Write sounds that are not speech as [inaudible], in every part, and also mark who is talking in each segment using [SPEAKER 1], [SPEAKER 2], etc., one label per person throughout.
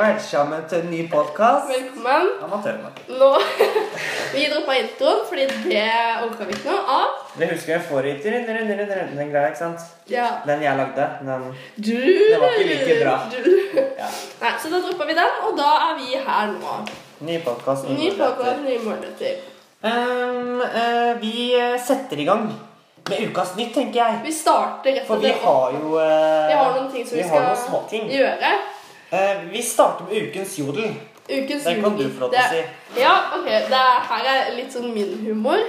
[SPEAKER 1] Velkommen til en ny podkast.
[SPEAKER 2] Velkommen.
[SPEAKER 1] Amatørmarked.
[SPEAKER 2] Nå [laughs] Vi droppa introen, fordi det orka vi ikke noe av.
[SPEAKER 1] Det husker jeg forrige tur. Den, den, den, den greia, ikke sant?
[SPEAKER 2] Ja.
[SPEAKER 1] Den jeg lagde. Den
[SPEAKER 2] Du
[SPEAKER 1] var ikke like bra.
[SPEAKER 2] Du.
[SPEAKER 1] ja.
[SPEAKER 2] Nei, så da droppa vi den, og da er vi her nå.
[SPEAKER 1] Ny podkast.
[SPEAKER 2] Ny podcast, nye muligheter.
[SPEAKER 1] vi Ehm, eh, setter i gang med ukas nytt, tenker jeg.
[SPEAKER 2] Vi starter rett
[SPEAKER 1] For
[SPEAKER 2] og
[SPEAKER 1] vi
[SPEAKER 2] slett
[SPEAKER 1] har jo eh,
[SPEAKER 2] Vi har noen ting som vi,
[SPEAKER 1] har
[SPEAKER 2] skal
[SPEAKER 1] noen småting.
[SPEAKER 2] gjøre.
[SPEAKER 1] Eh, vi starter med ukens jodel.
[SPEAKER 2] Ukens
[SPEAKER 1] Det kan du få lov til å
[SPEAKER 2] det-
[SPEAKER 1] si.
[SPEAKER 2] Ja, ok. Det er, her er litt sånn min humor.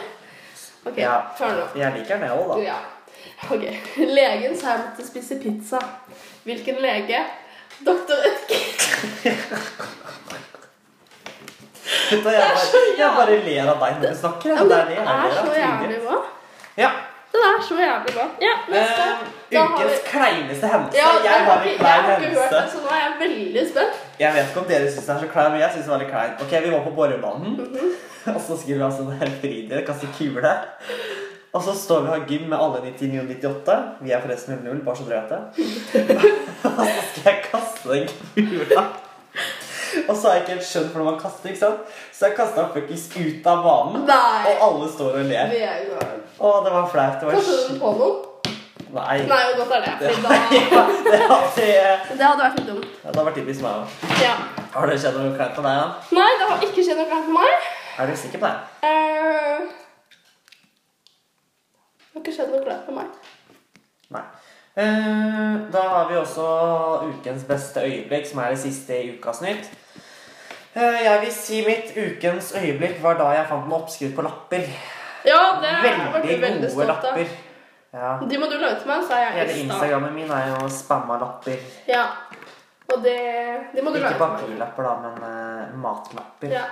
[SPEAKER 2] Ok,
[SPEAKER 1] Ja.
[SPEAKER 2] hør nå.
[SPEAKER 1] Jeg liker den, jeg òg, [laughs] da.
[SPEAKER 2] Ja. Ok. Legen sa jeg måtte spise pizza. Hvilken lege? Doktor Ødker.
[SPEAKER 1] Vet du, Jeg bare,
[SPEAKER 2] så
[SPEAKER 1] jeg bare ler av deg når du snakker. jeg. Det er det jeg
[SPEAKER 2] er
[SPEAKER 1] ler av.
[SPEAKER 2] så jævlig
[SPEAKER 1] tydelig.
[SPEAKER 2] bra.
[SPEAKER 1] Ja.
[SPEAKER 2] Den er så jævlig bra. Ja, neste.
[SPEAKER 1] Eh,
[SPEAKER 2] Da har vi-
[SPEAKER 1] ukens kleineste hendelse.
[SPEAKER 2] Ja,
[SPEAKER 1] jeg
[SPEAKER 2] den
[SPEAKER 1] har
[SPEAKER 2] ikke-
[SPEAKER 1] en
[SPEAKER 2] jeg
[SPEAKER 1] klein
[SPEAKER 2] har ikke hørt
[SPEAKER 1] hendelse.
[SPEAKER 2] den, så nå er jeg veldig spent.
[SPEAKER 1] Jeg vet ikke om dere syns den er så klein, men jeg syns den var litt klein. Ok, Vi var på Borrebanen,
[SPEAKER 2] Mhm.
[SPEAKER 1] [laughs] og så skulle vi ha sånn her friidrett, kaste kule. Og så står vi og har gym med alle 99 og 98. Vi er forresten 00, bare så dere
[SPEAKER 2] [laughs]
[SPEAKER 1] vet det. [laughs] Og så skal jeg kaste den kula. Og så har jeg ikke helt skjønt hvordan man kaster, ikke sant? så jeg kasta den fuckings ut av banen.
[SPEAKER 2] Nei.
[SPEAKER 1] Og alle står og ler.
[SPEAKER 2] Vi er jo gale.
[SPEAKER 1] Å, det var flaut.
[SPEAKER 2] [laughs]
[SPEAKER 1] Det var
[SPEAKER 2] Kanskje
[SPEAKER 1] skitt.
[SPEAKER 2] den på noen?
[SPEAKER 1] Nei.
[SPEAKER 2] Nei, jo godt er det.
[SPEAKER 1] Det,
[SPEAKER 2] fordi Da,
[SPEAKER 1] ja, [laughs] det, hadde- det,
[SPEAKER 2] det hadde vært litt dumt.
[SPEAKER 1] hadde vært typisk meg òg.
[SPEAKER 2] Ja.
[SPEAKER 1] Har det skjedd noe kleint på deg? da?
[SPEAKER 2] Nei, det har ikke skjedd noe galt med meg.
[SPEAKER 1] Er du sikker på det?
[SPEAKER 2] Eh, det har ikke skjedd noe galt med meg.
[SPEAKER 1] Nei. Eh, Da har vi også ukens beste øyeblikk, som er det siste i Ukas Nytt. Eh, Jeg vil si mitt ukens øyeblikk var da jeg fant en oppskrift på lapper.
[SPEAKER 2] Ja, det er jeg
[SPEAKER 1] Veldig
[SPEAKER 2] veldig, veldig
[SPEAKER 1] gode
[SPEAKER 2] stolt av.
[SPEAKER 1] lapper. Ja.
[SPEAKER 2] De må du lage til meg, så er jeg
[SPEAKER 1] Hele
[SPEAKER 2] ekstra.
[SPEAKER 1] Instagrammen min er jo spamma lapper.
[SPEAKER 2] Ja. Og det, de må du
[SPEAKER 1] Ikke
[SPEAKER 2] lage til
[SPEAKER 1] liksom.
[SPEAKER 2] meg.
[SPEAKER 1] papirlapper, da, men eh, matlapper.
[SPEAKER 2] Ja.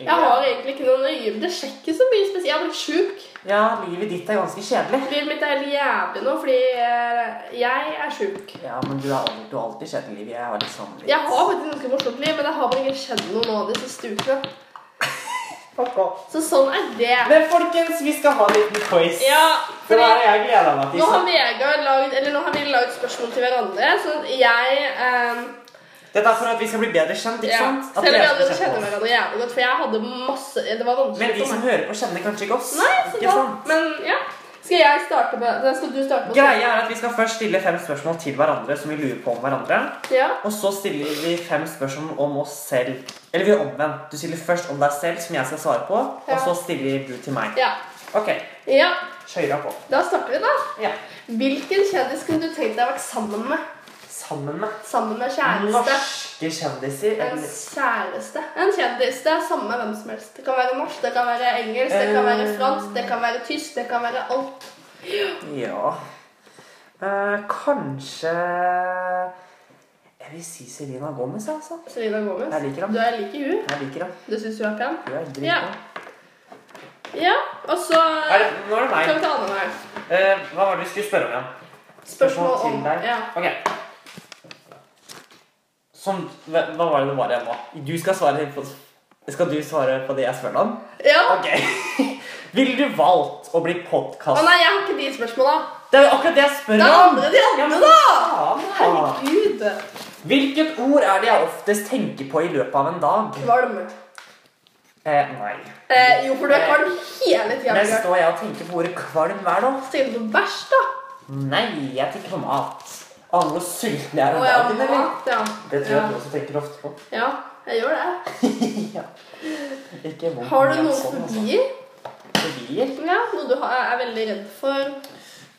[SPEAKER 2] Jeg har egentlig ikke noen øyeblikk. Det skjer ikke så mye spesielt. Jeg har blitt sjuk.
[SPEAKER 1] Ja, livet ditt er ganske kjedelig.
[SPEAKER 2] Livet mitt er helt jævlig nå fordi eh, jeg er sjuk.
[SPEAKER 1] Ja, men du har du har alltid kjedelig liv. Jeg har liksom litt
[SPEAKER 2] Jeg har faktisk ganske morsomt liv, men jeg har bare ikke skjedd noe nå de siste ukene.
[SPEAKER 1] Fuck off.
[SPEAKER 2] Så sånn er det.
[SPEAKER 1] Men folkens, vi skal ha en liten quiz.
[SPEAKER 2] Ja,
[SPEAKER 1] For det
[SPEAKER 2] fordi
[SPEAKER 1] er det jeg gleder meg til.
[SPEAKER 2] nå har Vegard lagd Eller nå har vi lagd spørsmål til hverandre, så jeg eh,
[SPEAKER 1] Dette er for at vi skal bli bedre kjent, ikke
[SPEAKER 2] ja,
[SPEAKER 1] sant? At
[SPEAKER 2] Selv om vi allerede
[SPEAKER 1] dere skal kjenne
[SPEAKER 2] kjenner
[SPEAKER 1] oss.
[SPEAKER 2] hverandre jævlig godt, for jeg hadde masse Det var vanskelig
[SPEAKER 1] Men de
[SPEAKER 2] for
[SPEAKER 1] som
[SPEAKER 2] meg.
[SPEAKER 1] hører på, kjenner kanskje ikke oss.
[SPEAKER 2] Nei, så
[SPEAKER 1] ikke
[SPEAKER 2] da
[SPEAKER 1] sant?
[SPEAKER 2] Men ja. Skal jeg starte med da Skal du starte med
[SPEAKER 1] Greia er at Vi skal først stille fem spørsmål til hverandre som vi lurer på om hverandre.
[SPEAKER 2] Ja.
[SPEAKER 1] Og så stiller vi fem spørsmål om oss selv. Eller vi er omvendt. Du stiller først om deg selv, som jeg skal svare på.
[SPEAKER 2] Ja.
[SPEAKER 1] Og så stiller du til meg.
[SPEAKER 2] ja.
[SPEAKER 1] Ok,
[SPEAKER 2] Ja.
[SPEAKER 1] kjøra på.
[SPEAKER 2] Da starter vi, da.
[SPEAKER 1] Ja.
[SPEAKER 2] Hvilken kjendis kunne du tenkt deg å være sammen med?
[SPEAKER 1] Sammen med
[SPEAKER 2] Sammen med kjæreste.
[SPEAKER 1] norske kjendiser
[SPEAKER 2] En
[SPEAKER 1] eller
[SPEAKER 2] kjæreste. En kjendis. Det er samme hvem som helst. Det kan være norsk, det kan være engelsk, det kan være
[SPEAKER 1] Eh.
[SPEAKER 2] fransk, det kan være tysk, det kan være alt.
[SPEAKER 1] Ja Eh, Kanskje Jeg vil si Selena Gomez, jeg, altså.
[SPEAKER 2] Selena Gomez.
[SPEAKER 1] Jeg liker ham.
[SPEAKER 2] Du er like hun.
[SPEAKER 1] Jeg liker henne.
[SPEAKER 2] Du syns hun er pen?
[SPEAKER 1] Hun er dritbra.
[SPEAKER 2] Ja. Ja. Og så
[SPEAKER 1] Er det, nå er det
[SPEAKER 2] Skal
[SPEAKER 1] meg.
[SPEAKER 2] vi ta annenhver?
[SPEAKER 1] Eh, hva var det vi skulle spørre om igjen?
[SPEAKER 2] Spørsmål
[SPEAKER 1] til
[SPEAKER 2] om
[SPEAKER 1] deg.
[SPEAKER 2] Ja.
[SPEAKER 1] Ok. Som, hva hva var det det var igjen nå? Du skal svare på Skal du svare på det jeg spør deg om?
[SPEAKER 2] ja.
[SPEAKER 1] Ok. [laughs] Ville du valgt å bli
[SPEAKER 2] Å
[SPEAKER 1] podkast...
[SPEAKER 2] nei, jeg har ikke de spørsmåla.
[SPEAKER 1] Det er jo akkurat det jeg spør
[SPEAKER 2] Det er
[SPEAKER 1] om!
[SPEAKER 2] andre de
[SPEAKER 1] Ja,
[SPEAKER 2] andre,
[SPEAKER 1] men
[SPEAKER 2] da!
[SPEAKER 1] faen, da.
[SPEAKER 2] Herregud.
[SPEAKER 1] Hvilket ord er det jeg oftest tenker på i løpet av en dag?
[SPEAKER 2] Kvalm.
[SPEAKER 1] Eh, nei.
[SPEAKER 2] Eh, jo, for du er kvalm hele tida.
[SPEAKER 1] Men står jeg og tenker på ordet kvalm hver dag?
[SPEAKER 2] Tenker du på bæsj, da?
[SPEAKER 1] Nei, jeg tenker på mat. Aner du hvor sulten jeg er
[SPEAKER 2] Å
[SPEAKER 1] om
[SPEAKER 2] ja.
[SPEAKER 1] dagen, eller?
[SPEAKER 2] mat, ja.
[SPEAKER 1] Det tror jeg
[SPEAKER 2] Ja.
[SPEAKER 1] du også tenker ofte på. [laughs]
[SPEAKER 2] Ja, jeg gjør det.
[SPEAKER 1] ja. Ikke vondt,
[SPEAKER 2] Har du
[SPEAKER 1] men
[SPEAKER 2] noen
[SPEAKER 1] sånn, altså.
[SPEAKER 2] fobier?
[SPEAKER 1] Fobier?
[SPEAKER 2] Ja, noe du ha- er veldig redd for.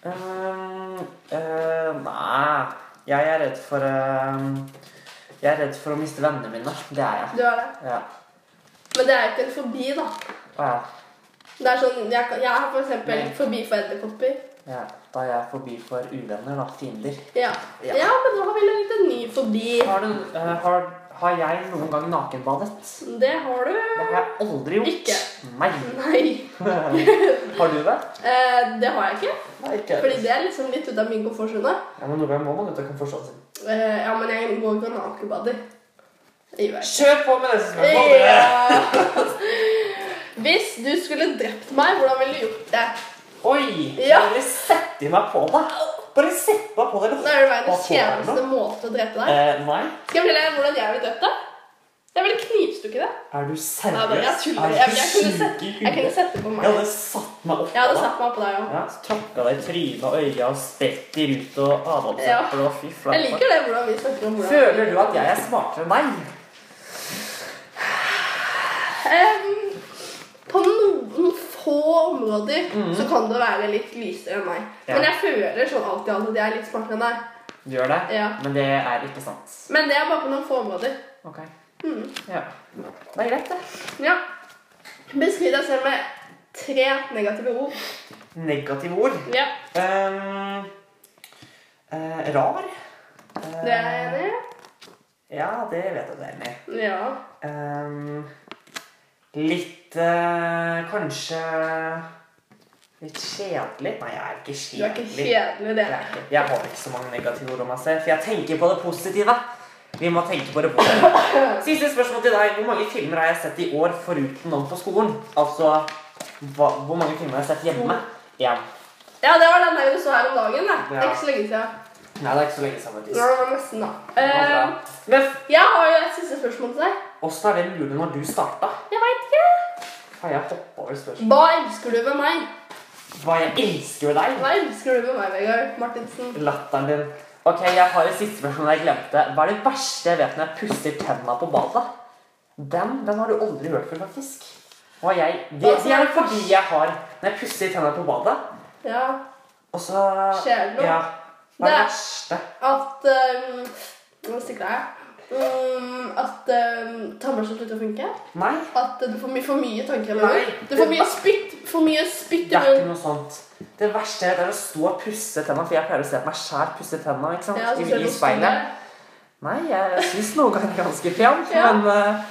[SPEAKER 1] Ehm, eh, nei. Jeg er redd for ehm, Jeg er redd for å miste vennene mine. Det er jeg.
[SPEAKER 2] Du er det.
[SPEAKER 1] Ja.
[SPEAKER 2] Men det er jo ikke en fobi, da.
[SPEAKER 1] Å, ja.
[SPEAKER 2] Det er sånn, Jeg, kan- jeg har for eksempel
[SPEAKER 1] Nei.
[SPEAKER 2] fobi for edderkopper.
[SPEAKER 1] ja. Da er jeg forbi for uvenner, da. Fiender.
[SPEAKER 2] Ja.
[SPEAKER 1] Ja.
[SPEAKER 2] Ja. men nå har vi laget en ny fobi.
[SPEAKER 1] Har, du, eh, har, har jeg noen gang nakenbadet?
[SPEAKER 2] Det har du.
[SPEAKER 1] Det har jeg aldri gjort.
[SPEAKER 2] Ikke.
[SPEAKER 1] Nei.
[SPEAKER 2] Nei,
[SPEAKER 1] har du det?
[SPEAKER 2] eh, det har jeg ikke.
[SPEAKER 1] Nei, ikke
[SPEAKER 2] Fordi det er liksom litt ut av min komfortsone.
[SPEAKER 1] Ja, men Noen ganger må man ut og kan forstå sin.
[SPEAKER 2] Eh, ja, men jeg går ikke nakenbader. Det gjør jeg ikke.
[SPEAKER 1] Kjør på med neste spørsmål!
[SPEAKER 2] Ja. Hvis du skulle drept meg, hvordan ville du gjort det?
[SPEAKER 1] Oi!
[SPEAKER 2] Ja.
[SPEAKER 1] Bare sett i meg på deg. Bare sett meg på deg.
[SPEAKER 2] Det er det verdens
[SPEAKER 1] Hva får jeg
[SPEAKER 2] kjedeligste måte å drepe deg
[SPEAKER 1] Eh, nei.
[SPEAKER 2] Skal jeg fortelle deg hvordan jeg ble drept? da? Det er vel knivstukket, det?
[SPEAKER 1] Er du seriøs?
[SPEAKER 2] Nei, bare jeg tuller.
[SPEAKER 1] Er du
[SPEAKER 2] Jeg- jeg kunne
[SPEAKER 1] syk
[SPEAKER 2] sett-
[SPEAKER 1] i
[SPEAKER 2] Jeg kunne
[SPEAKER 1] huet?
[SPEAKER 2] sette på
[SPEAKER 1] Jeg
[SPEAKER 2] meg.
[SPEAKER 1] hadde satt meg opp
[SPEAKER 2] Jeg hadde
[SPEAKER 1] da.
[SPEAKER 2] satt meg på deg òg.
[SPEAKER 1] Ja, så tråkka deg i trynet og øya og spretter ut og avholdssøppel og fy
[SPEAKER 2] Jeg
[SPEAKER 1] flate.
[SPEAKER 2] liker det hvordan vi snakker om hvordan
[SPEAKER 1] Føler du at jeg er smartere enn deg?
[SPEAKER 2] Em, På noen få områder så kan du være litt lysere enn meg.
[SPEAKER 1] Mhm. Ja.
[SPEAKER 2] Men jeg føler sånn alltid alt at jeg er litt smartere enn deg.
[SPEAKER 1] Du gjør det?
[SPEAKER 2] Ja.
[SPEAKER 1] Men det er ikke sant.
[SPEAKER 2] Men det er bare på noen få områder.
[SPEAKER 1] Ok.
[SPEAKER 2] Mm.
[SPEAKER 1] Ja. Det er greit, det.
[SPEAKER 2] Ja. Beskriv deg selv med tre negative ord.
[SPEAKER 1] Negative ord.
[SPEAKER 2] Ja,
[SPEAKER 1] Ehm, eh, rar. Eh,
[SPEAKER 2] Det er jeg enig i.
[SPEAKER 1] Ja, det vet jeg du er enig i.
[SPEAKER 2] Ja.
[SPEAKER 1] Ehm, litt eh, Kanskje litt kjedelig. Nei, jeg er ikke
[SPEAKER 2] Du er ikke
[SPEAKER 1] kjedelig.
[SPEAKER 2] kjedelig, det.
[SPEAKER 1] Jeg, er ikke, jeg har ikke så mange negative ord om meg selv, for jeg tenker på det positive. Vi må tenke på det positive. Siste spørsmål til deg. Hvor mange filmer har jeg sett i år foruten noen på skolen? Altså hva, hvor mange filmer har jeg sett hjemme? Én.
[SPEAKER 2] [laughs] Ja, det var den der du så her om dagen. Da. Det
[SPEAKER 1] Ja.
[SPEAKER 2] er ikke så lenge siden.
[SPEAKER 1] Nei, det er ikke så lenge siden,
[SPEAKER 2] Ja,
[SPEAKER 1] faktisk.
[SPEAKER 2] det var nesten, da.
[SPEAKER 1] Det var bra.
[SPEAKER 2] Eh,
[SPEAKER 1] Men
[SPEAKER 2] jeg har jo et siste spørsmål til deg.
[SPEAKER 1] åssen er det mulig når du starta?
[SPEAKER 2] Jeg vet ikke.
[SPEAKER 1] Har jeg hoppa over spørsmål?
[SPEAKER 2] Hva elsker du ved meg?
[SPEAKER 1] Hva jeg elsker ved deg?
[SPEAKER 2] Hva elsker du ved meg, Vegard Martinsen?
[SPEAKER 1] Latteren din. Ok, jeg har et siste spørsmål jeg glemte. Hva er det verste jeg vet når jeg pusser tenna på badet? Den, den har du aldri hørt før, faktisk. Og jeg, det, det er fordi jeg har Når jeg pusser tenna på badet,
[SPEAKER 2] Ja,
[SPEAKER 1] og så
[SPEAKER 2] Skjer det noe?
[SPEAKER 1] Ja. Hva er
[SPEAKER 2] Det-
[SPEAKER 1] det verste?
[SPEAKER 2] at um, Nå stikker jeg. Um, at um, tannbørsten slutter å funke.
[SPEAKER 1] Nei,
[SPEAKER 2] At uh, du får mye, for mye tanker i munnen.
[SPEAKER 1] Nei.
[SPEAKER 2] Du får mye spytt for mye spytt
[SPEAKER 1] det
[SPEAKER 2] i
[SPEAKER 1] er ikke
[SPEAKER 2] munnen.
[SPEAKER 1] noe sånt. Det verste jeg vet, er å stå og pusse tenna, for jeg pleier å se på meg sjæl pusse tenna ikke sant?
[SPEAKER 2] Ja, så ser
[SPEAKER 1] I,
[SPEAKER 2] du
[SPEAKER 1] i speilet.
[SPEAKER 2] sånn
[SPEAKER 1] Nei, jeg syns noen ganger det er ganske pent,
[SPEAKER 2] Ja.
[SPEAKER 1] men eh,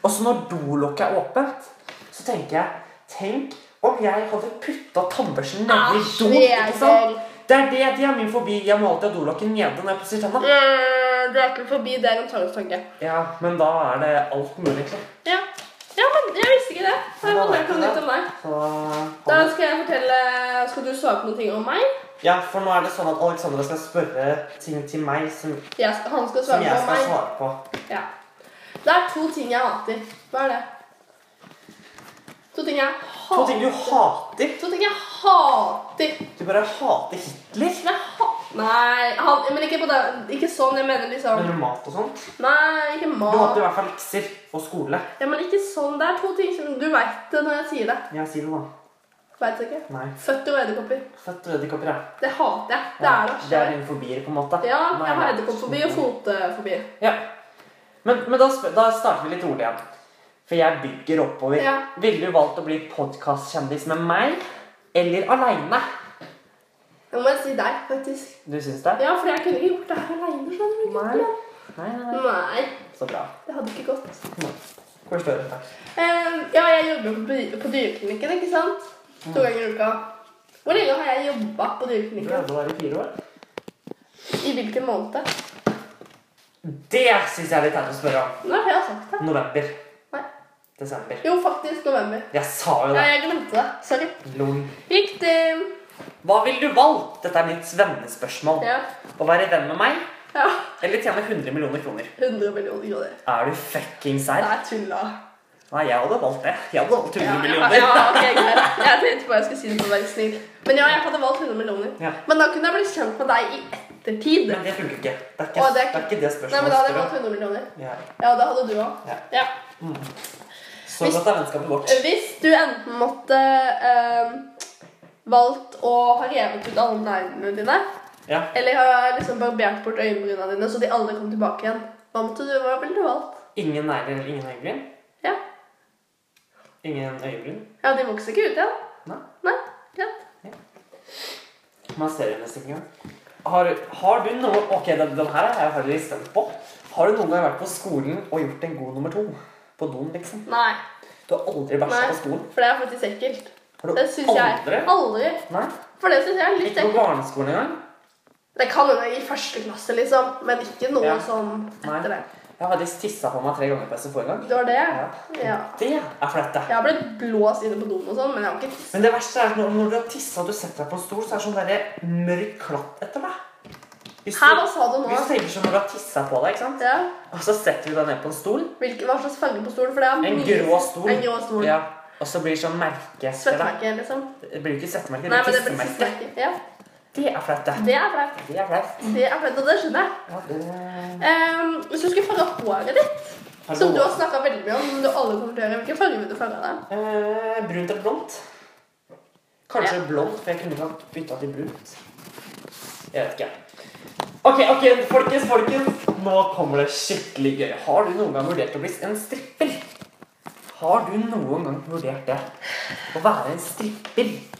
[SPEAKER 1] også når dolokket er åpent, så tenker jeg Tenk om jeg hadde putta tannbørsten nedi
[SPEAKER 2] Æsj,
[SPEAKER 1] do.
[SPEAKER 2] det er
[SPEAKER 1] ikke sant?
[SPEAKER 2] vel-
[SPEAKER 1] Det er det de er min forbi. Jeg må alltid ha dolokket nede når jeg pusser tenna.
[SPEAKER 2] Eh, Du er ikke forbi det er en tannstanke.
[SPEAKER 1] Ja, men da er det alt mulig, egentlig.
[SPEAKER 2] Ja. ja, men jeg visste ikke det. Da har jeg fått lært noe nytt om deg.
[SPEAKER 1] Så,
[SPEAKER 2] Da skal jeg fortelle Skal du svare på noen ting om meg?
[SPEAKER 1] ja, for nå er det sånn at Alexandra skal spørre ting til meg som,
[SPEAKER 2] Jeg skal, han skal
[SPEAKER 1] som
[SPEAKER 2] svare
[SPEAKER 1] jeg
[SPEAKER 2] på
[SPEAKER 1] skal
[SPEAKER 2] meg.
[SPEAKER 1] svare på.
[SPEAKER 2] Ja. Det er to ting jeg hater. Hva er det? To ting jeg hater.
[SPEAKER 1] To ting du hater.
[SPEAKER 2] To ting jeg hater.
[SPEAKER 1] Du bare hater Hitler.
[SPEAKER 2] Jeg ha Nei, han, men ikke, på den, ikke sånn. Jeg mener liksom
[SPEAKER 1] Eller mat og sånt.
[SPEAKER 2] Nei, ikke
[SPEAKER 1] Du hater
[SPEAKER 2] mat.
[SPEAKER 1] i hvert fall lekser og skole.
[SPEAKER 2] Ja, men ikke sånn. Det er to ting som Du veit det når jeg sier det.
[SPEAKER 1] Ja, si det, da.
[SPEAKER 2] Veit ikke.
[SPEAKER 1] Nei.
[SPEAKER 2] Føtter og edderkopper.
[SPEAKER 1] Født og edderkopper, ja.
[SPEAKER 2] Det hater jeg. Det
[SPEAKER 1] Ja,
[SPEAKER 2] er det
[SPEAKER 1] Det er
[SPEAKER 2] verste.
[SPEAKER 1] dine fobier, på en måte.
[SPEAKER 2] Ja,
[SPEAKER 1] Nei,
[SPEAKER 2] jeg har
[SPEAKER 1] nei.
[SPEAKER 2] edderkoppfobi og fotfobi.
[SPEAKER 1] Ja. Men, men da, spør, da starter vi litt rolig igjen. For jeg bygger oppover.
[SPEAKER 2] Ja.
[SPEAKER 1] Ville du valgt å bli podkastkjendis med meg eller aleine?
[SPEAKER 2] Nå må jeg si deg, faktisk.
[SPEAKER 1] Du syns det?
[SPEAKER 2] Ja, for jeg kunne ikke gjort det her aleine. skjønner du,
[SPEAKER 1] Nei.
[SPEAKER 2] gutter.
[SPEAKER 1] Nei, nei, nei.
[SPEAKER 2] Nei,
[SPEAKER 1] Så bra. Hm.
[SPEAKER 2] det hadde ikke gått.
[SPEAKER 1] Hvor står det? Takk.
[SPEAKER 2] Eh, ja, jeg jobber på, dy- på dyreklinikken, ikke sant? To ganger i uka. Hvor lenge har jeg jobba på
[SPEAKER 1] Du
[SPEAKER 2] dyreklinikken?
[SPEAKER 1] prøvde å være fire år.
[SPEAKER 2] I hvilken måned?
[SPEAKER 1] Det syns jeg er litt teit å spørre om.
[SPEAKER 2] Nå har jeg sagt det.
[SPEAKER 1] November.
[SPEAKER 2] Nei.
[SPEAKER 1] Desember.
[SPEAKER 2] Jo, faktisk november.
[SPEAKER 1] Jeg sa jo
[SPEAKER 2] Ja,
[SPEAKER 1] det.
[SPEAKER 2] jeg glemte det. Sorry.
[SPEAKER 1] Lol.
[SPEAKER 2] Riktig.
[SPEAKER 1] Hva ville du valgt? Dette er mitt vennespørsmål.
[SPEAKER 2] Ja.
[SPEAKER 1] Å være venn med meg
[SPEAKER 2] ja.
[SPEAKER 1] eller tjene 100 millioner kroner?
[SPEAKER 2] 100 millioner kroner.
[SPEAKER 1] Er du fuckings sær?
[SPEAKER 2] Det er tulla.
[SPEAKER 1] Nei, jeg hadde valgt det. Jeg hadde valgt 100
[SPEAKER 2] Ja, ja,
[SPEAKER 1] millioner.
[SPEAKER 2] ja, ok, greit. Jeg tenkte bare jeg skulle si det for å være snill. Men ja, jeg hadde valgt 100 millioner.
[SPEAKER 1] Ja.
[SPEAKER 2] Men da kunne jeg blitt kjent med deg i ettertid.
[SPEAKER 1] [laughs] Men det funker ikke. Det er
[SPEAKER 2] Å,
[SPEAKER 1] ikke det,
[SPEAKER 2] det er ikke-
[SPEAKER 1] er ikke
[SPEAKER 2] Nei, men
[SPEAKER 1] det
[SPEAKER 2] da hadde jeg
[SPEAKER 1] spørsmålet.
[SPEAKER 2] valgt 100 millioner.
[SPEAKER 1] Ja.
[SPEAKER 2] Ja, det hadde du òg.
[SPEAKER 1] Ja.
[SPEAKER 2] Ja.
[SPEAKER 1] Så godt er vennskapet vårt.
[SPEAKER 2] Hvis du enten måtte eh, valgt å ha revet ut alle neglene dine,
[SPEAKER 1] Ja.
[SPEAKER 2] eller ha liksom barbert bort øyenbryna dine så de alle kom tilbake igjen, hva måtte du, hva ville du valgt?
[SPEAKER 1] Ingen negler eller ingen øyebryn?
[SPEAKER 2] Ja.
[SPEAKER 1] Ingen øyebryn?
[SPEAKER 2] ja, de vokser ikke ut igjen.
[SPEAKER 1] Nei.
[SPEAKER 2] Nei, greit.
[SPEAKER 1] Man ser det nesten ikke engang. Har, har du noe Ok, den, den her er jeg veldig spent på. Har du noen gang vært på skolen og gjort en god nummer to? På doen, liksom?
[SPEAKER 2] Nei,
[SPEAKER 1] Du har aldri
[SPEAKER 2] Nei.
[SPEAKER 1] bæsja på skolen?
[SPEAKER 2] for det er faktisk ekkelt.
[SPEAKER 1] Har du
[SPEAKER 2] Det syns jeg
[SPEAKER 1] aldri?
[SPEAKER 2] aldri.
[SPEAKER 1] Nei?
[SPEAKER 2] For det syns jeg er litt
[SPEAKER 1] Ikke på
[SPEAKER 2] ekkelt.
[SPEAKER 1] barneskolen engang?
[SPEAKER 2] Det kan hende i første klasse, liksom, men ikke noe
[SPEAKER 1] Ja.
[SPEAKER 2] sånn etter
[SPEAKER 1] Nei.
[SPEAKER 2] det.
[SPEAKER 1] Jeg har faktisk tissa på meg tre ganger på SFO en gang.
[SPEAKER 2] Det var det.
[SPEAKER 1] Ja.
[SPEAKER 2] Ja.
[SPEAKER 1] Det er flaut, det.
[SPEAKER 2] Jeg har blitt blåst inne på doen og sånn, men jeg har ikke
[SPEAKER 1] Men det verste er at når, når du har tissa og du setter deg på en stol, så er det sånn derre mørk klatt etter deg. Hvis
[SPEAKER 2] Her,
[SPEAKER 1] du,
[SPEAKER 2] hva sa du nå?
[SPEAKER 1] hvis du tenker sånn når du har tissa på deg, ikke sant?
[SPEAKER 2] Ja.
[SPEAKER 1] og så setter du deg ned på en stol
[SPEAKER 2] Hvilke, hva slags farge på stolen? For det er
[SPEAKER 1] En
[SPEAKER 2] mye-
[SPEAKER 1] grå stol.
[SPEAKER 2] En grå stol.
[SPEAKER 1] Ja. Og så blir det sånn merke etter deg.
[SPEAKER 2] Svettmerke, liksom.
[SPEAKER 1] Det blir jo ikke svettemerke,
[SPEAKER 2] Nei,
[SPEAKER 1] det
[SPEAKER 2] men
[SPEAKER 1] blir
[SPEAKER 2] det blir
[SPEAKER 1] tissemerke.
[SPEAKER 2] svettmerke. Ja.
[SPEAKER 1] Det er flaut, det.
[SPEAKER 2] Det er flaut.
[SPEAKER 1] Det er flaut.
[SPEAKER 2] Det er flaut, og det skjønner jeg.
[SPEAKER 1] Ja, det-
[SPEAKER 2] Ehm, hvis du skulle farge håret ditt,
[SPEAKER 1] Har
[SPEAKER 2] som du
[SPEAKER 1] noe-
[SPEAKER 2] har snakka veldig mye om, men du aldri kommer til å gjøre, hvilken farge vil du farge av deg?
[SPEAKER 1] Eh, brunt eller blondt? Kanskje blondt, for jeg kunne ikke bytta til brunt. Jeg vet ikke. Ok, ok, folkens, folkens. Nå kommer det skikkelig gøy. Har du noen gang vurdert å bli en stripper? Har du noen gang vurdert det? Å være en stripper?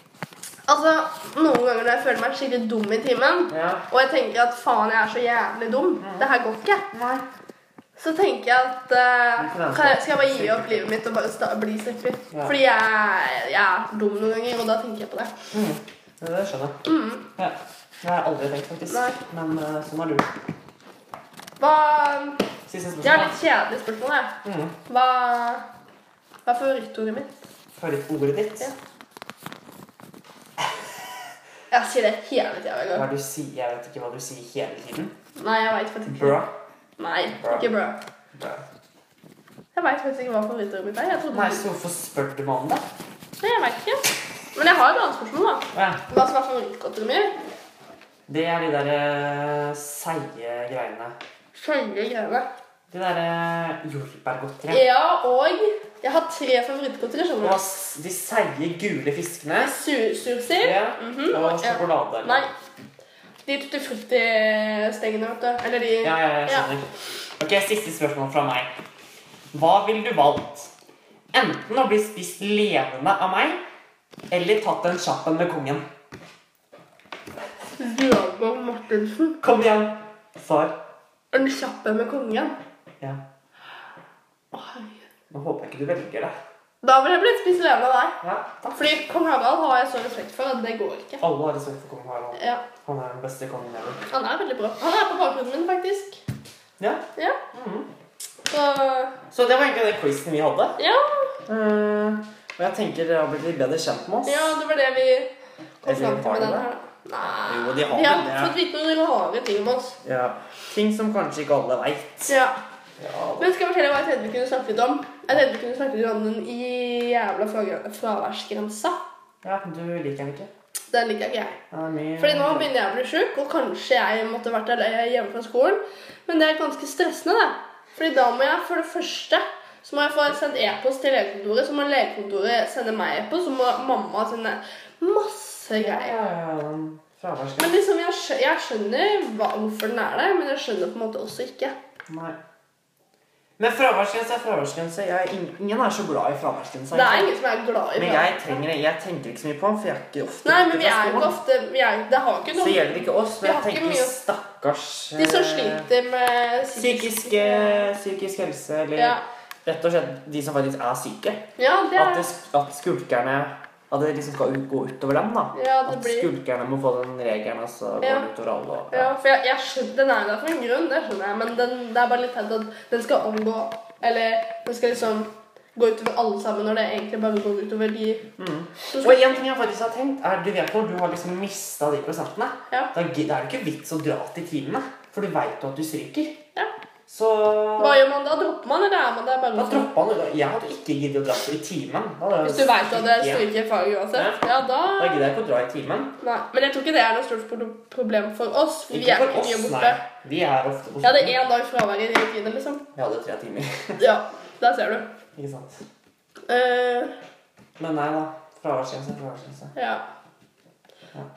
[SPEAKER 2] Altså, Noen ganger når jeg føler meg skikkelig dum i timen,
[SPEAKER 1] Ja. Mm.
[SPEAKER 2] og jeg tenker at faen, jeg er så jævlig dum, det her går ikke,
[SPEAKER 1] Nei.
[SPEAKER 2] så tenker jeg at eh,
[SPEAKER 1] Du får vente.
[SPEAKER 2] kan jeg, skal jeg bare gi opp livet mitt og bare sta bli stripper?
[SPEAKER 1] Ja.
[SPEAKER 2] Fordi jeg, jeg er for dum noen ganger, og da tenker jeg på det.
[SPEAKER 1] Mm. Ja, Det skjønner jeg.
[SPEAKER 2] Mm.
[SPEAKER 1] Ja. Det har jeg aldri tenkt, faktisk.
[SPEAKER 2] Nei.
[SPEAKER 1] Men eh, sånn er du.
[SPEAKER 2] Hva
[SPEAKER 1] Siste
[SPEAKER 2] Jeg har
[SPEAKER 1] spørsmål.
[SPEAKER 2] litt kjedelig spørsmål, jeg.
[SPEAKER 1] Mm.
[SPEAKER 2] Hva, hva er favorittordet mitt?
[SPEAKER 1] Favorittordet ditt?
[SPEAKER 2] Ja. Jeg sier det hele tida hver
[SPEAKER 1] Hva
[SPEAKER 2] gang.
[SPEAKER 1] du sier, jeg vet ikke hva du sier hele tiden.
[SPEAKER 2] Nei, jeg veit faktisk ikke.
[SPEAKER 1] Bra.
[SPEAKER 2] Nei,
[SPEAKER 1] Bra.
[SPEAKER 2] ikke bra.
[SPEAKER 1] Bra.
[SPEAKER 2] Jeg veit faktisk ikke hva favorittordet mitt er. Jeg trodde
[SPEAKER 1] Nei, så hvorfor spør du meg om det?
[SPEAKER 2] Nei, jeg vet ikke. Men jeg har et annet spørsmål, da.
[SPEAKER 1] Ja.
[SPEAKER 2] Hva som er favorittgodteriet mitt?
[SPEAKER 1] Det er de der eh, seige greiene.
[SPEAKER 2] Skjønne greiene.
[SPEAKER 1] De der eh, jordbærgodteriet.
[SPEAKER 2] Ja, og jeg har tre favorittgodterier,
[SPEAKER 1] Og
[SPEAKER 2] skjønner du.
[SPEAKER 1] s- de seige gule fiskene.
[SPEAKER 2] Sur, sursild.
[SPEAKER 1] Ja.
[SPEAKER 2] Mhm,
[SPEAKER 1] Og
[SPEAKER 2] og- ja.
[SPEAKER 1] sjokolade. eller-
[SPEAKER 2] Nei. De tutti frutti-stengene, vet du. Eller de
[SPEAKER 1] Ja, ja, jeg skjønner. Ok, Siste spørsmål fra meg. Hva ville du valgt? Enten å bli spist levende av meg, eller tatt en kjappen med kongen.
[SPEAKER 2] Bjørnborg Martinsen.
[SPEAKER 1] Kom igjen! Svar.
[SPEAKER 2] Den kjappe med kongen.
[SPEAKER 1] Ja.
[SPEAKER 2] Å, herregud.
[SPEAKER 1] Nå håper jeg ikke du velger det.
[SPEAKER 2] Da ville jeg blitt spist levende av deg.
[SPEAKER 1] Ja, takk.
[SPEAKER 2] Fordi kong Harald har jeg så respekt for at det går ikke.
[SPEAKER 1] Alle har respekt for kong Harald.
[SPEAKER 2] Ja,
[SPEAKER 1] Han er den beste kongen ever.
[SPEAKER 2] Han er veldig bra. Han er på bakgrunnen min, faktisk.
[SPEAKER 1] Ja.
[SPEAKER 2] Ja.
[SPEAKER 1] Mhm.
[SPEAKER 2] Så
[SPEAKER 1] Så det var egentlig den quizen vi hadde.
[SPEAKER 2] Ja.
[SPEAKER 1] Eh, og jeg tenker dere har blitt litt bedre kjent med oss.
[SPEAKER 2] Ja, det var det vi kom
[SPEAKER 1] Eller
[SPEAKER 2] fram til
[SPEAKER 1] har
[SPEAKER 2] med
[SPEAKER 1] de
[SPEAKER 2] den
[SPEAKER 1] det?
[SPEAKER 2] her. Nei
[SPEAKER 1] Jo, de har
[SPEAKER 2] Vi har
[SPEAKER 1] vel det.
[SPEAKER 2] fått vite noen rare ting om oss.
[SPEAKER 1] Ja. Ting som kanskje ikke alle veit.
[SPEAKER 2] Ja.
[SPEAKER 1] Ja.
[SPEAKER 2] Men skal jeg fortelle hva jeg tenkte vi kunne snakke litt om? Jeg tenkte vi kunne snakke litt om den i jævla fra- fraværsgrensa.
[SPEAKER 1] ja, du liker den ikke.
[SPEAKER 2] Den liker ikke jeg.
[SPEAKER 1] Den er mye
[SPEAKER 2] Fordi nå begynner jeg å bli sjuk, og kanskje jeg måtte vært alle- hjemme fra skolen. Men det er ganske stressende, det. Fordi da må jeg for det første så må jeg få sendt e-post til legekontoret, så må legekontoret sende meg e-post, så må mamma sende masse
[SPEAKER 1] ja,
[SPEAKER 2] greier.
[SPEAKER 1] ja, ja, den fraværsgrensen.
[SPEAKER 2] Men liksom, jeg, skjø jeg skjønner hva, hvorfor den er der, men jeg skjønner på en måte også ikke.
[SPEAKER 1] Nei. Men fraværsgrense er fraværsgrense. Jeg, er ing- ingen er så glad i fraværsgrense.
[SPEAKER 2] Det er ingen som er glad i
[SPEAKER 1] Men
[SPEAKER 2] hverandre.
[SPEAKER 1] jeg trenger det. Jeg tenker ikke så mye på den, for jeg er ikke ofte
[SPEAKER 2] Nei, men
[SPEAKER 1] borte
[SPEAKER 2] vi
[SPEAKER 1] fra
[SPEAKER 2] er jo ikke
[SPEAKER 1] skolen.
[SPEAKER 2] ofte vi er, Det har ikke
[SPEAKER 1] Så
[SPEAKER 2] noe
[SPEAKER 1] gjelder det ikke oss.
[SPEAKER 2] Vi
[SPEAKER 1] Men
[SPEAKER 2] har
[SPEAKER 1] jeg
[SPEAKER 2] ikke
[SPEAKER 1] tenker
[SPEAKER 2] mye-
[SPEAKER 1] stakkars
[SPEAKER 2] De som
[SPEAKER 1] eh,
[SPEAKER 2] sliter med
[SPEAKER 1] Psykisk, eh, psykisk helse, eller
[SPEAKER 2] Ja.
[SPEAKER 1] rett og slett de som faktisk er syke.
[SPEAKER 2] Ja, det
[SPEAKER 1] At,
[SPEAKER 2] er
[SPEAKER 1] det, at skulkerne At det liksom skal ut- gå utover dem, da.
[SPEAKER 2] Ja, det
[SPEAKER 1] at
[SPEAKER 2] blir-
[SPEAKER 1] skulkerne må få den regelen, og så går
[SPEAKER 2] Ja.
[SPEAKER 1] det utover alle. Og,
[SPEAKER 2] Ja, for jeg, jeg skjønner, Den er jo der for en grunn, det skjønner jeg, men den, det er bare litt teit at den skal omgå Eller den skal liksom gå utover alle sammen, når det egentlig bare går utover de som
[SPEAKER 1] og
[SPEAKER 2] skal
[SPEAKER 1] en ting jeg faktisk har tenkt, er du vet når du har liksom mista de prosentene,
[SPEAKER 2] Ja.
[SPEAKER 1] da gi- da er det ikke vits å dra til timene, for du veit jo at du stryker.
[SPEAKER 2] ja.
[SPEAKER 1] Så
[SPEAKER 2] Hva gjør man da? Dropper man, eller er man der
[SPEAKER 1] da
[SPEAKER 2] bare liksom-
[SPEAKER 1] droppa han ut. Jeg hadde ikke giddet å dra i timen. Da hadde jeg
[SPEAKER 2] Hvis du veit at det
[SPEAKER 1] stryket.
[SPEAKER 2] stryker i faget uansett? Ja, da
[SPEAKER 1] Da gidder jeg ikke å dra i timen.
[SPEAKER 2] Nei, men jeg tror ikke det er noe stort pro- problem for oss. For vi
[SPEAKER 1] Ikke
[SPEAKER 2] er
[SPEAKER 1] for
[SPEAKER 2] ikke mye
[SPEAKER 1] oss, nei.
[SPEAKER 2] borte.
[SPEAKER 1] Vi er ofte på
[SPEAKER 2] Jeg hadde
[SPEAKER 1] skolen.
[SPEAKER 2] én dag fravær i timen, liksom.
[SPEAKER 1] Vi hadde tre timer. [laughs]
[SPEAKER 2] Ja, der ser du.
[SPEAKER 1] ikke sant.
[SPEAKER 2] Eh,
[SPEAKER 1] Men nei da. Fraværsgrense, fraværsgrense.
[SPEAKER 2] ja.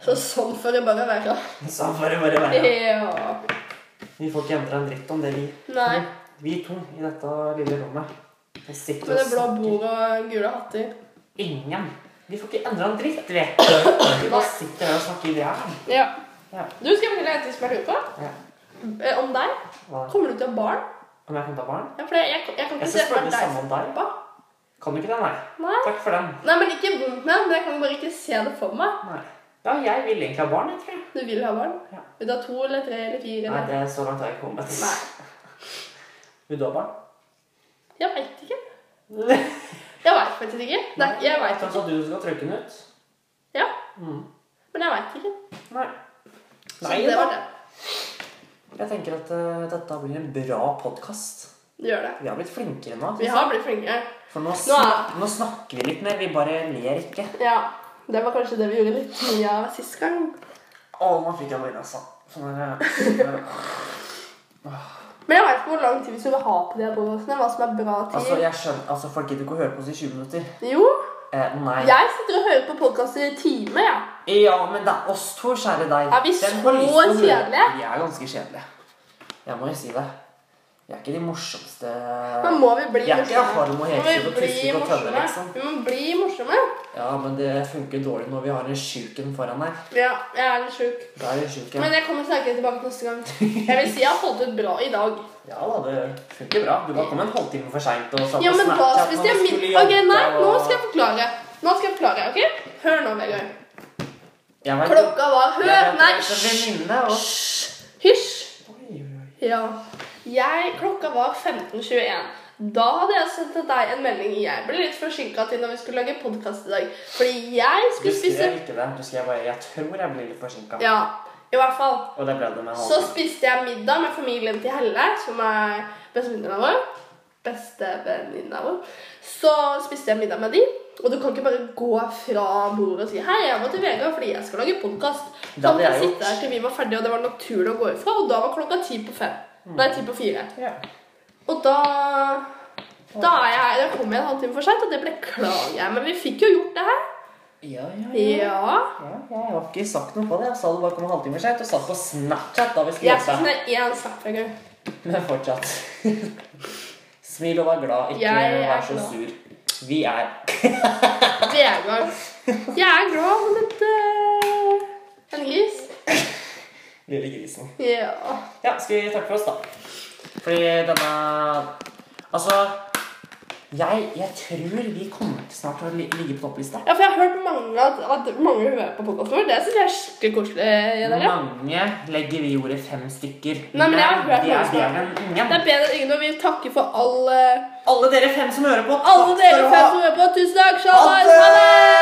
[SPEAKER 2] Så sånn får det bare være.
[SPEAKER 1] Så får det
[SPEAKER 2] [laughs]
[SPEAKER 1] bare være.
[SPEAKER 2] Ja.
[SPEAKER 1] Vi får ikke endre en dritt om det, vi.
[SPEAKER 2] Nei.
[SPEAKER 1] Vi to i dette lille rommet. Vi sitter
[SPEAKER 2] Med det
[SPEAKER 1] og
[SPEAKER 2] blå
[SPEAKER 1] snakker.
[SPEAKER 2] bordet og gule hatter.
[SPEAKER 1] Ingen. Vi får ikke endre en dritt, vi. Vi bare sitter her og snakker i ræl.
[SPEAKER 2] Ja.
[SPEAKER 1] Ja.
[SPEAKER 2] Du, skal jeg fortelle en ting som jeg lurer på?
[SPEAKER 1] Ja.
[SPEAKER 2] Eh, Om deg?
[SPEAKER 1] Hva?
[SPEAKER 2] Kommer du til å ha barn?
[SPEAKER 1] Om jeg kan ta barn?
[SPEAKER 2] Ja, for jeg, jeg, jeg kan
[SPEAKER 1] Jeg
[SPEAKER 2] ikke
[SPEAKER 1] skal
[SPEAKER 2] se for
[SPEAKER 1] spørre
[SPEAKER 2] meg
[SPEAKER 1] det
[SPEAKER 2] deg
[SPEAKER 1] samme
[SPEAKER 2] som
[SPEAKER 1] om deg.
[SPEAKER 2] pappa.
[SPEAKER 1] Kan du ikke det? Nei.
[SPEAKER 2] Nei.
[SPEAKER 1] Takk for den.
[SPEAKER 2] Nei, men ikke vondt med, men jeg kan bare ikke se det for meg.
[SPEAKER 1] Nei. Ja, jeg vil egentlig ha barn, jeg tror jeg.
[SPEAKER 2] Du vil ha barn?
[SPEAKER 1] Ja.
[SPEAKER 2] Vil du ha to eller tre eller fire?
[SPEAKER 1] Nei,
[SPEAKER 2] Eller?
[SPEAKER 1] det er så langt har jeg ikke kommet.
[SPEAKER 2] Nei.
[SPEAKER 1] Vil du ha
[SPEAKER 2] [laughs]
[SPEAKER 1] barn?
[SPEAKER 2] Jeg veit ikke. Jeg veit faktisk ikke. Nei, jeg vet ikke.
[SPEAKER 1] Kanskje du skal trykke den ut?
[SPEAKER 2] Ja,
[SPEAKER 1] Mm.
[SPEAKER 2] men jeg veit ikke.
[SPEAKER 1] Nei.
[SPEAKER 2] Så
[SPEAKER 1] Nei
[SPEAKER 2] det
[SPEAKER 1] da.
[SPEAKER 2] var det.
[SPEAKER 1] Jeg tenker at eh, dette blir en bra podkast.
[SPEAKER 2] Det gjør det.
[SPEAKER 1] Vi har blitt flinkere nå.
[SPEAKER 2] Vi har blitt flinkere.
[SPEAKER 1] For nå,
[SPEAKER 2] Nå er-
[SPEAKER 1] snak, nå snakker vi litt mer. Vi bare ler ikke.
[SPEAKER 2] Ja. Det var kanskje det vi gjorde litt mye av sist gang.
[SPEAKER 1] Å, nå fikk jeg øynene, altså. Sånn er det.
[SPEAKER 2] [laughs] Men jeg vet ikke hvor lang tid vi skulle ha på de her podkastene. Hva som er bra tid.
[SPEAKER 1] Altså, jeg skjønner, altså, folk gidder ikke å høre på oss i 20 minutter.
[SPEAKER 2] Jo,
[SPEAKER 1] Eh, nei.
[SPEAKER 2] jeg sitter og hører på podkaster i timer, jeg. Ja.
[SPEAKER 1] Ja, men det er oss to, kjære deg.
[SPEAKER 2] Er vi
[SPEAKER 1] Den
[SPEAKER 2] så
[SPEAKER 1] får lyst til å høre.
[SPEAKER 2] kjedelige?
[SPEAKER 1] Vi er ganske kjedelige. Jeg må jo si det. Vi er ikke de morsomste
[SPEAKER 2] Men må vi bli
[SPEAKER 1] Jeg er ikke
[SPEAKER 2] morsomme?
[SPEAKER 1] Harmo
[SPEAKER 2] Må vi
[SPEAKER 1] Hegseth og
[SPEAKER 2] bli
[SPEAKER 1] Tusvik og Tønne,
[SPEAKER 2] morsomme?
[SPEAKER 1] liksom.
[SPEAKER 2] Vi må bli morsomme.
[SPEAKER 1] Ja, men det funker dårlig når vi har en sjuken foran her.
[SPEAKER 2] Ja, jeg er litt sjuk.
[SPEAKER 1] Da er det sjuken.
[SPEAKER 2] Men jeg kommer sterkere tilbake neste gang. Jeg vil si jeg har holdt ut bra i dag.
[SPEAKER 1] Ja da, det funker bra. Du bare kom en halvtime for seint og satt
[SPEAKER 2] Ja,
[SPEAKER 1] på
[SPEAKER 2] men da
[SPEAKER 1] Snapchat
[SPEAKER 2] hvis
[SPEAKER 1] når
[SPEAKER 2] jeg
[SPEAKER 1] du
[SPEAKER 2] min...
[SPEAKER 1] skulle
[SPEAKER 2] Ok,
[SPEAKER 1] jogge,
[SPEAKER 2] nei, nå
[SPEAKER 1] og-
[SPEAKER 2] skal jeg forklare. Nå skal jeg forklare, ok? Hør nå, Vegard.
[SPEAKER 1] Jeg vet ikke.
[SPEAKER 2] Klokka var
[SPEAKER 1] Jeg
[SPEAKER 2] Hør!
[SPEAKER 1] vet
[SPEAKER 2] Nei,
[SPEAKER 1] at det er en
[SPEAKER 2] hysj!
[SPEAKER 1] venninne, og-
[SPEAKER 2] Hysj!
[SPEAKER 1] Oi, oi, oi.
[SPEAKER 2] Ja. Jeg, klokka var 15.21. Da hadde jeg sendt til deg en melding. Jeg ble litt forsinka til når vi skulle lage podkast i dag. Fordi jeg
[SPEAKER 1] Du
[SPEAKER 2] skulle spise
[SPEAKER 1] skrev ikke det. Du skrev bare 'Jeg tror jeg blir litt forsinka'.
[SPEAKER 2] Ja, i hvert fall.
[SPEAKER 1] Og det ble det med
[SPEAKER 2] Så
[SPEAKER 1] halvtime.
[SPEAKER 2] spiste jeg middag med familien til Helle, som er bestevenninna vår. Bestevenninna vår. Så spiste jeg middag med de. Og du kan ikke bare gå fra bordet og si 'Hei, jeg må til Vegard fordi jeg skal lage podkast'.
[SPEAKER 1] Det
[SPEAKER 2] Da
[SPEAKER 1] hadde
[SPEAKER 2] måtte
[SPEAKER 1] jeg
[SPEAKER 2] vi
[SPEAKER 1] gjort.
[SPEAKER 2] sitte her til vi var ferdige, og det var naturlig å gå ifra. Og da var klokka ti på fem. Nei, ti på fire.
[SPEAKER 1] Ja.
[SPEAKER 2] Og da da er jeg, da kom jeg en halvtime for seint, og det beklager jeg. Men vi fikk jo gjort det her.
[SPEAKER 1] Ja, ja, ja.
[SPEAKER 2] Ja.
[SPEAKER 1] Ja, jeg har ikke sagt noe på det. Jeg sa det bare kom en halvtime sent og satt på Snapchat da vi skulle
[SPEAKER 2] Jeg skal
[SPEAKER 1] jobbe.
[SPEAKER 2] sende én snap en gang.
[SPEAKER 1] Men fortsatt. [laughs] Smil og vær glad, ikke
[SPEAKER 2] Jeg er
[SPEAKER 1] vær så
[SPEAKER 2] glad.
[SPEAKER 1] sur. Vi er
[SPEAKER 2] Vegard. Jeg er glad som et eh, en gris.
[SPEAKER 1] lille grisen.
[SPEAKER 2] Ja.
[SPEAKER 1] Ja, skal vi takke for oss, da? Fordi denne Altså jeg, jeg tror vi kommer til snart til å li- ligge på topplista.
[SPEAKER 2] ja, for jeg har hørt mange at, at mange hører på podkasten vår. Det syns jeg er skikkelig koselig. Dere.
[SPEAKER 1] Mange legger vi i ordet fem stykker.
[SPEAKER 2] Nei, men jeg har hørt
[SPEAKER 1] de er
[SPEAKER 2] mange
[SPEAKER 1] bedre enn
[SPEAKER 2] Det
[SPEAKER 1] ingen.
[SPEAKER 2] er bedre enn ingen, og vi takker for alle,
[SPEAKER 1] Alle dere fem som hører på.
[SPEAKER 2] alle
[SPEAKER 1] takk skal
[SPEAKER 2] dere
[SPEAKER 1] dere
[SPEAKER 2] fem
[SPEAKER 1] ha.
[SPEAKER 2] som hører på. Tusen takk.
[SPEAKER 1] Ha
[SPEAKER 2] Shalom.
[SPEAKER 1] det!
[SPEAKER 2] Ha det!